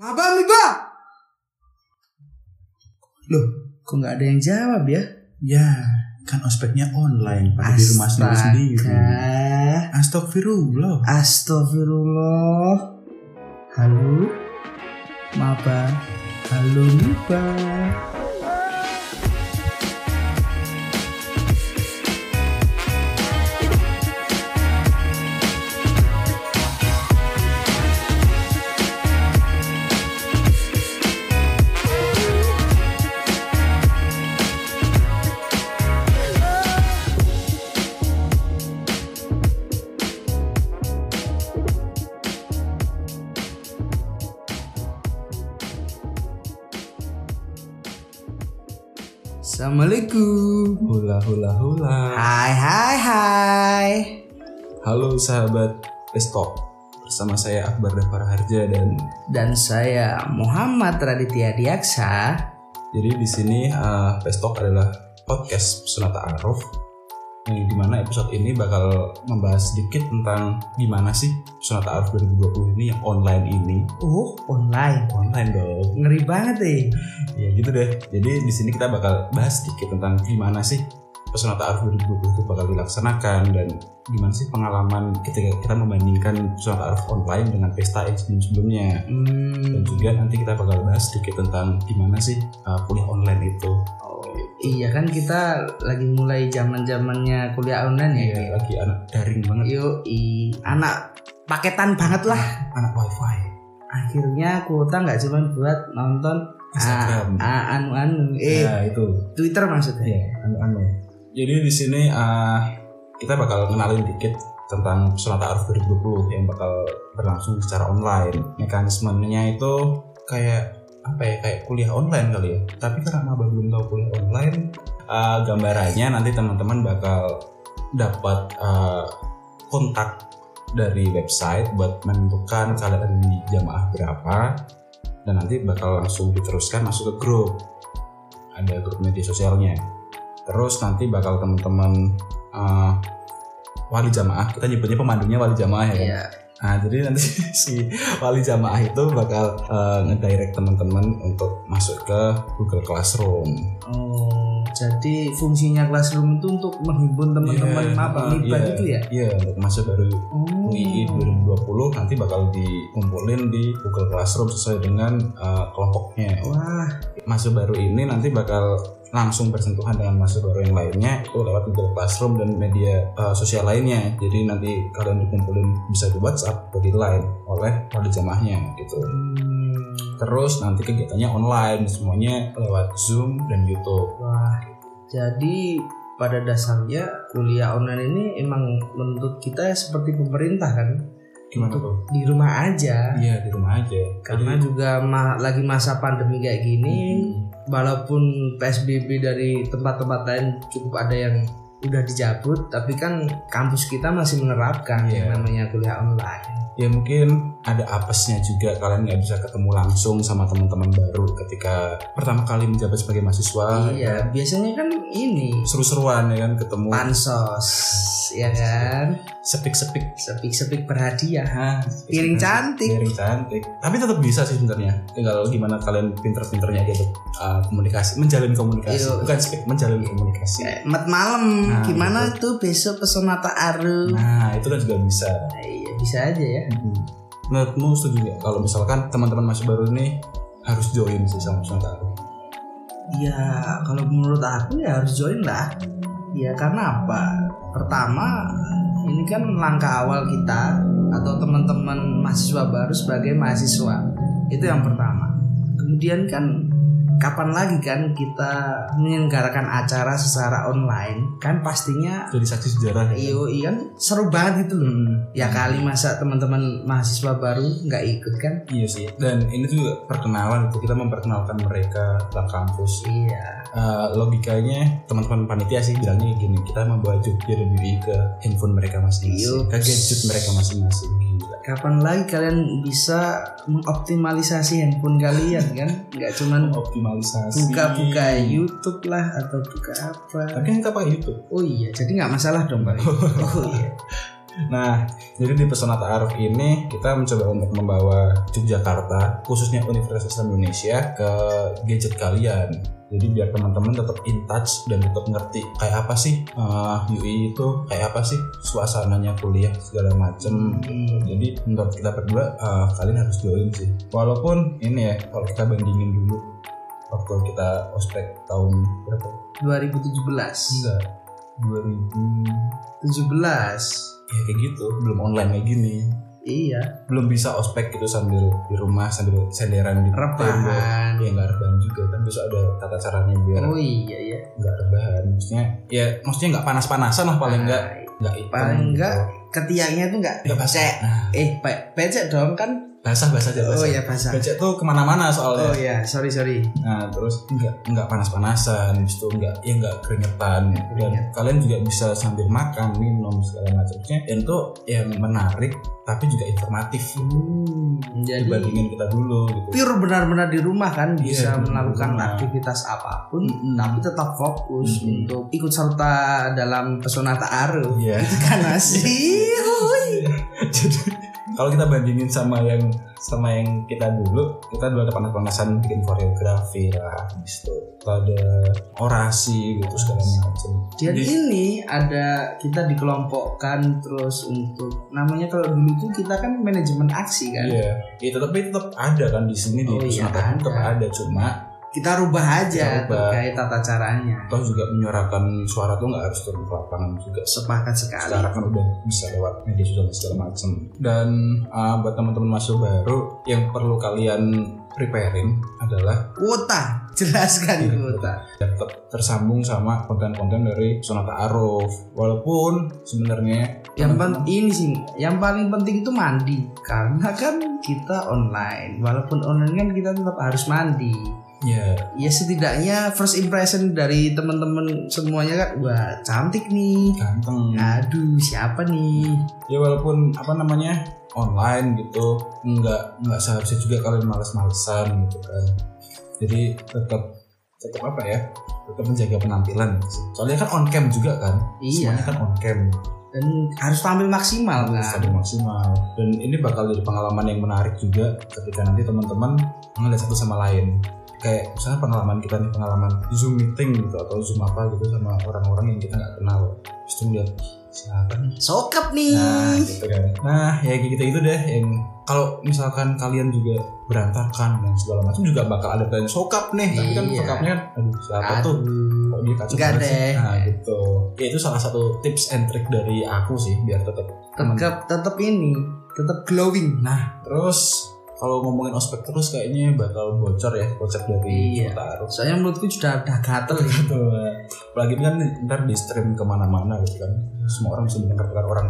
Maba, Miba. Loh, Kok nggak ada yang jawab ya? ya kan ospeknya online, Pak. Di rumah sendiri sendiri. Astaga. Astagfirullah. Astagfirullah. Halo. Maba. Halo Miba. Assalamualaikum. Hula hula hula. Hai hai hai. Halo sahabat Estok. Bersama saya Akbar Dafar Harja dan Dan saya Muhammad Raditya Diaksa. jadi di sini eh, Estok adalah podcast pesona Ta'aruf yang dimana episode ini bakal membahas sedikit tentang gimana sih pesona Ta'aruf 2020 ini yang online ini Oh, online. online dong Ngeri banget eh. ya gitu deh jadi di sini kita bakal bahas sedikit tentang gimana sih pesona Ta'aruf 2020 itu bakal dilaksanakan dan gimana sih pengalaman ketika kita membandingkan pesona Ta'aruf online dengan pesta yang sebelum-sebelumnya dan Hmm, juga nanti kita bakal bahas sedikit tentang gimana sih uh, kuliah online itu iya kan kita lagi mulai zaman zamannya kuliah online ya. Iya, lagi anak daring banget Yo, anak paketan banget lah. anak wifi Akhirnya kuota nggak cuma buat nonton Instagram ah, ah, anu-anu, eh ya itu Twitter maksudnya. ya anu-anu jadi di sini uh, kita bakal kenalin dikit tentang Pesona Ta'aruf 2020 yang bakal berlangsung secara online mekanismenya itu kayak apa ya kayak kuliah online kali ya tapi karena maba belum tahu kuliah online uh, gambarannya nanti teman-teman bakal dapat uh, kontak dari website buat menentukan kalian ada di jamaah berapa dan nanti bakal langsung diteruskan masuk ke grup ada grup media sosialnya terus nanti bakal teman-teman eh, wali jamaah kita nyebutnya pemandunya wali jamaah ya kan? Iya. Nah, jadi nanti si wali jamaah itu bakal eh, ngedirect teman-teman untuk masuk ke Google Classroom. Oh, jadi fungsinya classroom itu untuk menghimpun teman-teman Iya, maba ah, miba iya. gitu ya. Iya, untuk masuk baru Oh. UI 2020 nanti bakal dikumpulin di Google Classroom sesuai dengan eh, kelompoknya. Wah, Masuk baru ini nanti bakal langsung bersentuhan dengan masuk baru yang lainnya itu lewat Google Classroom dan media eh, sosial lainnya. Jadi nanti kalian dikumpulin bisa di WhatsApp atau di Line oleh wali jamaahnya gitu. hmm, Terus nanti kegiatannya online, semuanya lewat Zoom dan YouTube. wah. Jadi pada dasarnya kuliah online ini emang menurut kita seperti pemerintah kan Gimana tuh? di rumah aja. Iya di rumah aja. Karena juga ma- lagi masa pandemi kayak gini, Hmm. walaupun PSBB dari tempat-tempat lain cukup ada yang udah dicabut, tapi kan kampus kita masih menerapkan yang Iya. namanya kuliah online. ya mungkin ada apesnya juga kalian nggak bisa ketemu langsung sama teman-teman baru ketika pertama kali menjabat sebagai mahasiswa. iya, biasanya kan ini Seru-seruan ya kan ketemu pansos, ya kan? sepik-sepik. Sepik-sepik berhadiah. Hah, Piring sepik-sepik. cantik. Piring cantik. Tapi tetap bisa sih sebenarnya. Tinggal gimana kalian pinter-pinternya aja tuh uh, komunikasi, menjalin komunikasi. Iya. Bukan sepik, menjalin komunikasi. Eh, Mat malam, Nah, gimana tuh besok pesona Aru? Nah, itu kan juga bisa. Iya, bisa aja ya. Hmm. Menurutmu setuju nggak kalau misalkan teman-teman masih baru ini harus join sih sama Nusantara? Ya kalau menurut aku ya harus join lah Ya karena apa? Pertama ini kan langkah awal kita Atau teman-teman mahasiswa baru sebagai mahasiswa Itu yang pertama Kemudian kan kapan lagi kan kita menyelenggarakan acara secara online Kan pastinya Jadi saksi sejarah ya? iyo kan seru banget gitu loh Ya kali masa teman-teman mahasiswa baru nggak ikut kan Iya sih. Dan ini juga perkenalan itu kita memperkenalkan mereka ke kampus. Iya Eh, logikanya teman-teman panitia sih bilangnya gini, kita membawa Jogja dan diri ke handphone mereka Iya. masing-masing, ke gadget mereka masing-masing. Gila. kapan lagi kalian bisa mengoptimalisasi handphone kalian kan nggak cuman Optimalisasi. buka-buka YouTube lah atau buka apa Tapi kan kita pakai YouTube. oh iya jadi nggak masalah dong Bang. oh iya Nah, jadi di Pesona Ta'aruf ini kita mencoba untuk membawa Yogyakarta, khususnya Universitas Indonesia ke gadget kalian. Jadi biar teman-teman tetap in touch dan tetap ngerti kayak apa sih eh, UI itu, kayak apa sih suasananya kuliah segala macem. Jadi menurut kita berdua eh, kalian harus join sih. Walaupun ini ya kalau kita bandingin dulu waktu kita ospek tahun berapa? 2017 Enggak. 2000 17 ya kayak gitu belum online kayak gini iya belum bisa ospek gitu sambil di rumah sambil senderan di tembok. rebahan ya nggak rebahan juga kan besok ada tata caranya biar oh iya ya nggak rebahan maksudnya ya maksudnya nggak panas-panasan lah paling nggak nggak hitam Nah, Paling gitu. nggak ketiaknya tuh nggak Nggak basah Nah, eh pe- becek dong kan basah basah aja oh basah ya basah Becek tuh kemana-mana oh soalnya ya sorry sorry Nah terus nggak nggak panas-panasan, habis itu nggak ya nggak keringetan. Dan Keringet. kalian juga bisa sambil makan, minum segala macamnya. Dan itu yang menarik tapi juga informatif Hmm, jadi dibandingin kita dulu gitu. pure benar-benar di rumah kan Iya, Hmm. bisa di melakukan rumah. aktivitas apapun Mm-mm. tapi tetap fokus Mm-mm. untuk ikut serta dalam pesona ta'aruf Iya. karena sih Jadi kalau kita bandingin sama yang sama yang kita dulu, kita dulu ada panas-panasan bikin koreografi lah, habis itu ada orasi gitu segala macam. jadi ini ada kita dikelompokkan terus untuk namanya kalau dulu tuh kita kan manajemen aksi kan Iya, Iya, tetapi tetap ada kan di sini di Oh, iya, Sumatera Utara tetap ada. ada cuma kita rubah aja Kita rubah. terkait tata caranya toh juga menyuarakan suara tuh nggak harus turun ke lapangan juga sepakat sekali sekarang kan udah bisa lewat media sosial dan segala macam dan uh, buat teman-teman masuk baru yang perlu kalian preparein adalah kuota Iya, jelaskan kuota tetap tersambung sama konten-konten dari Sonata Aruf walaupun sebenarnya yang teman-teman- penting ini sih yang paling penting itu mandi karena kan kita online walaupun online kan kita tetap harus mandi ya ya setidaknya first impression dari teman-teman semuanya kan wah cantik nih ganteng Ya. aduh siapa nih ya walaupun apa namanya online gitu nggak nggak seharusnya juga kalian males-malesan gitu kan jadi tetap tetap apa ya tetap menjaga penampilan soalnya kan on cam juga kan iya semuanya kan on cam dan harus tampil maksimal kan sampai maksimal dan ini bakal jadi pengalaman yang menarik juga ketika nanti teman-teman ngeliat satu sama lain kayak misalnya pengalaman kita nih pengalaman zoom meeting gitu atau zoom apa gitu sama orang-orang yang kita nggak kenal terus tuh lihat siapa nih sokap nih Nah, gitu kan. Nah, ya kayak gitu gitu deh. Yang kalau misalkan kalian juga berantakan dan segala macam juga bakal ada plan sokap nih. Tapi kan Iya. sokapnya, aduh siapa aduh tuh? Kok dia kacau Nggak banget sih? deh. Nah, gitu. Ya, itu salah satu tips and trick dari aku sih biar tetap teman. tetap tetap ini tetap glowing nah Terus kalau ngomongin ospek terus kayaknya bakal bocor ya konsep dari Iya. kita harus soalnya menurutku sudah udah gatel ya apalagi ini kan ntar di stream kemana-mana gitu kan semua orang bisa mendengar dengar orang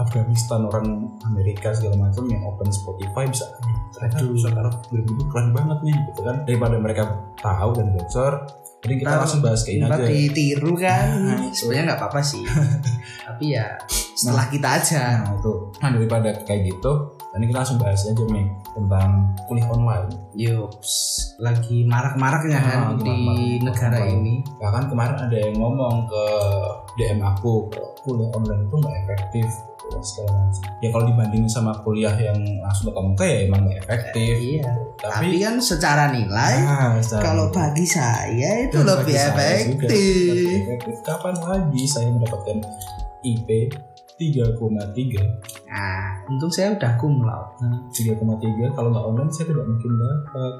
Afghanistan orang Amerika segala macam yang open Spotify bisa "Aduh, ternyata Aduh. bisa taruh begitu keren banget nih gitu kan daripada mereka tahu dan bocor jadi kita Taruh. langsung bahas ke ini Ntar aja ditiru kan Nah, itu. sebenarnya nggak apa-apa sih tapi ya setelah kita aja nah itu nah daripada kayak gitu dan ini kita langsung bahas aja nih tentang kuliah online yups lagi marak-maraknya kan Ah, lagi di marak-marak. negara Marak. ini bahkan kemarin ada yang ngomong ke DM aku kuliah online itu nggak efektif gitu, dan segala macam ya kalau dibandingin sama kuliah yang langsung ke muka ya emang nggak efektif iya tapi tapi, kan secara nilai Ah, secara- kalau bagi saya itu dan lebih bagi saya juga, lebih efektif efektif. kapan lagi saya mendapatkan IP 3,3 nah untung saya udah cum laude 3,3 kalau nggak online saya tidak mungkin dapat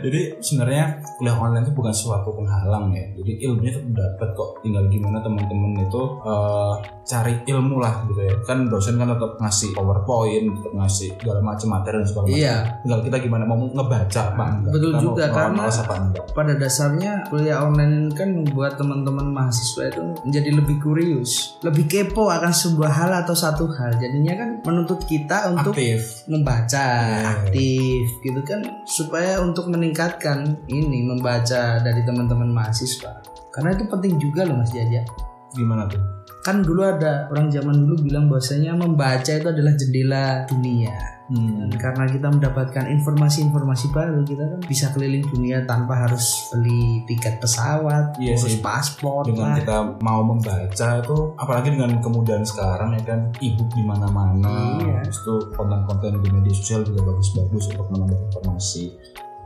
jadi sebenarnya kuliah online itu bukan suatu penghalang ya jadi ilmunya tetap dapat kok tinggal gimana teman-teman itu eh, cari ilmu lah gitu ya kan dosen kan tetap ngasih powerpoint tetap ngasih segala macam materi dan segala macam iya tinggal kita gimana mau ngebaca apa enggak Betul Kita mau juga, ngelawan karena- malas apa enggak pada dasarnya kuliah online kan membuat teman-teman mahasiswa itu menjadi lebih kurius lebih kepo akan sebuah hal atau satu hal jadinya kan menuntut kita untuk aktif membaca Iya. aktif gitu kan supaya untuk meningkatkan ini membaca dari teman-teman mahasiswa karena itu penting juga loh Mas Jaja gimana tuh kan dulu ada orang zaman dulu bilang bahwasanya membaca itu adalah jendela dunia Hmm. Dan karena kita mendapatkan informasi-informasi baru kita kan bisa keliling dunia tanpa harus beli tiket pesawat, Iya harus sih. paspor dengan lah. kita mau membaca itu apalagi dengan kemudahan sekarang ya kan ibu di mana-mana Iya. terus itu konten-konten di media sosial juga bagus-bagus untuk menambah informasi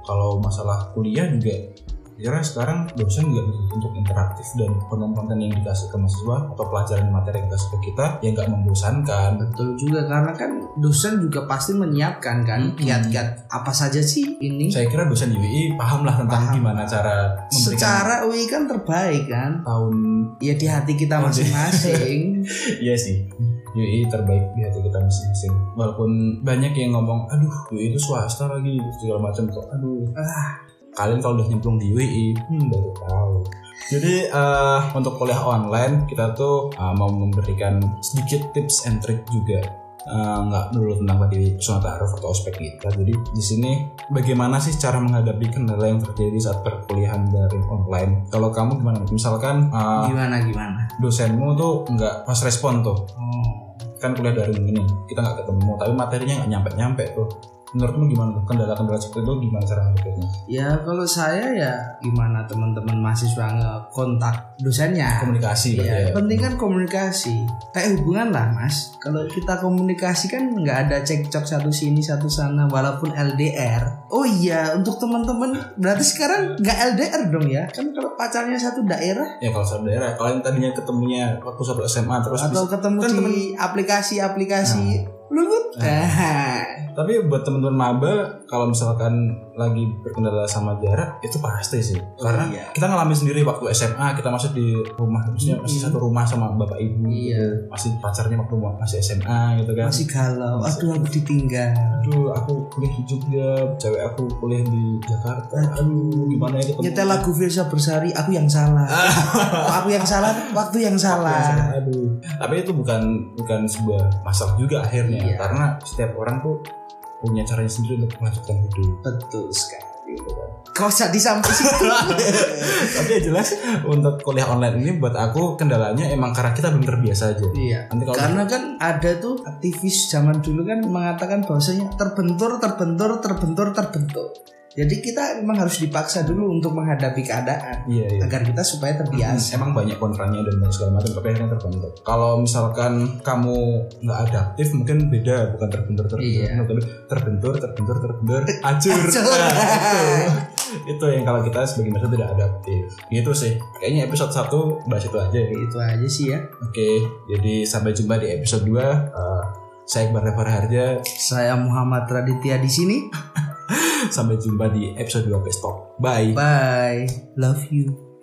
kalau masalah kuliah juga kira sekarang dosen juga untuk interaktif dan konten-konten yang dikasih ke mahasiswa atau pelajaran materi yang dikasih ke kita yang nggak membosankan Betul juga karena kan dosen juga pasti menyiapkan kan Mm-mm. kiat-kiat apa saja sih ini saya kira dosen UII paham lah Paham. tentang gimana cara memberikan secara UI kan terbaik kan tahun ya di hati kita Oh, di- masing-masing Iya sih, UI terbaik di hati kita masing-masing. Walaupun banyak yang ngomong, aduh UI itu swasta lagi segala macam kok. Aduh, ah. Kalian kalau udah nyemplung di UI, hmm, baru tahu. Jadi eh, untuk kuliah online kita tuh eh, mau memberikan sedikit tips and trick juga Eh, nggak melulu tentang tadi pesona taruh atau ospek kita. Jadi di sini bagaimana sih cara menghadapi kendala yang terjadi saat perkuliahan daring online? Kalau kamu gimana? Misalkan eh, gimana gimana dosenmu tuh nggak pas respon tuh oh. kan kuliah daring ini kita nggak ketemu tapi materinya nggak nyampe nyampe tuh menurutmu gimana tuh? kendala-kendala seperti itu gimana cara menghadapinya ya kalau saya ya gimana teman-teman mahasiswa ngekontak dosennya komunikasi berarti Iya, ya, yang penting kan komunikasi. Kayak hubungan lah, Mas. Kalau kita komunikasi kan nggak ada cekcok satu sini satu sana walaupun LDR. Oh iya, untuk teman-teman berarti sekarang nggak LDR dong ya. Kan kalau pacarnya satu daerah ya kalau satu daerah kalau yang tadinya ketemunya waktu satu SMA terus atau bis- ketemu kan Nah. di aplikasi-aplikasi lulut. Ah, tapi buat teman-teman maba kalau misalkan lagi berkendala sama jarak itu pasti sih karena Iya. kita ngalami sendiri waktu SMA kita masuk di rumah maksudnya masih Iya. satu rumah sama bapak ibu Iya. gitu. masih pacarnya waktu masih SMA gitu kan Masih galau. Masih. Aduh, aku ditinggal. aduh aku kuliah di Jogja cewek aku kuliah di Jakarta aduh gimana ya ketemu Nyetel lagu Filsa Bersari, aku yang salah. Kok aku yang salah, Ah. waktu yang salah. aduh tapi itu bukan bukan sebuah masalah juga akhirnya Iya. karena setiap orang tuh punya caranya sendiri untuk melanjutkan hidup Betul sekali. gitu kan Kau jadi sampai situ. tapi yang jelas untuk kuliah online ini buat aku kendalanya emang karena kita belum terbiasa aja Iya. nanti kalau Karena kan ada tuh aktivis zaman dulu kan mengatakan bahwasanya terbentur, terbentur, terbentur, terbentur. Jadi kita memang harus dipaksa dulu untuk menghadapi keadaan iya, iya. agar kita supaya terbiasa. Hmm, emang banyak kontranya dan banyak segala macam tapi akhirnya terbentur kalau misalkan kamu nggak adaptif mungkin beda bukan terbentur terbentur Iya. tapi terbentur terbentur terbentur acur Acur. Nah, itu itu yang kalau kita sebagai manusia tidak adaptif gitu sih kayaknya episode 1 bahas itu aja ya. Itu aja sih ya. oke jadi sampai jumpa di episode 2 saya Iqbal Reva Raharja Saya Muhammad Raditya di sini. sampai jumpa di episode 2 besok bye Bye. Love you.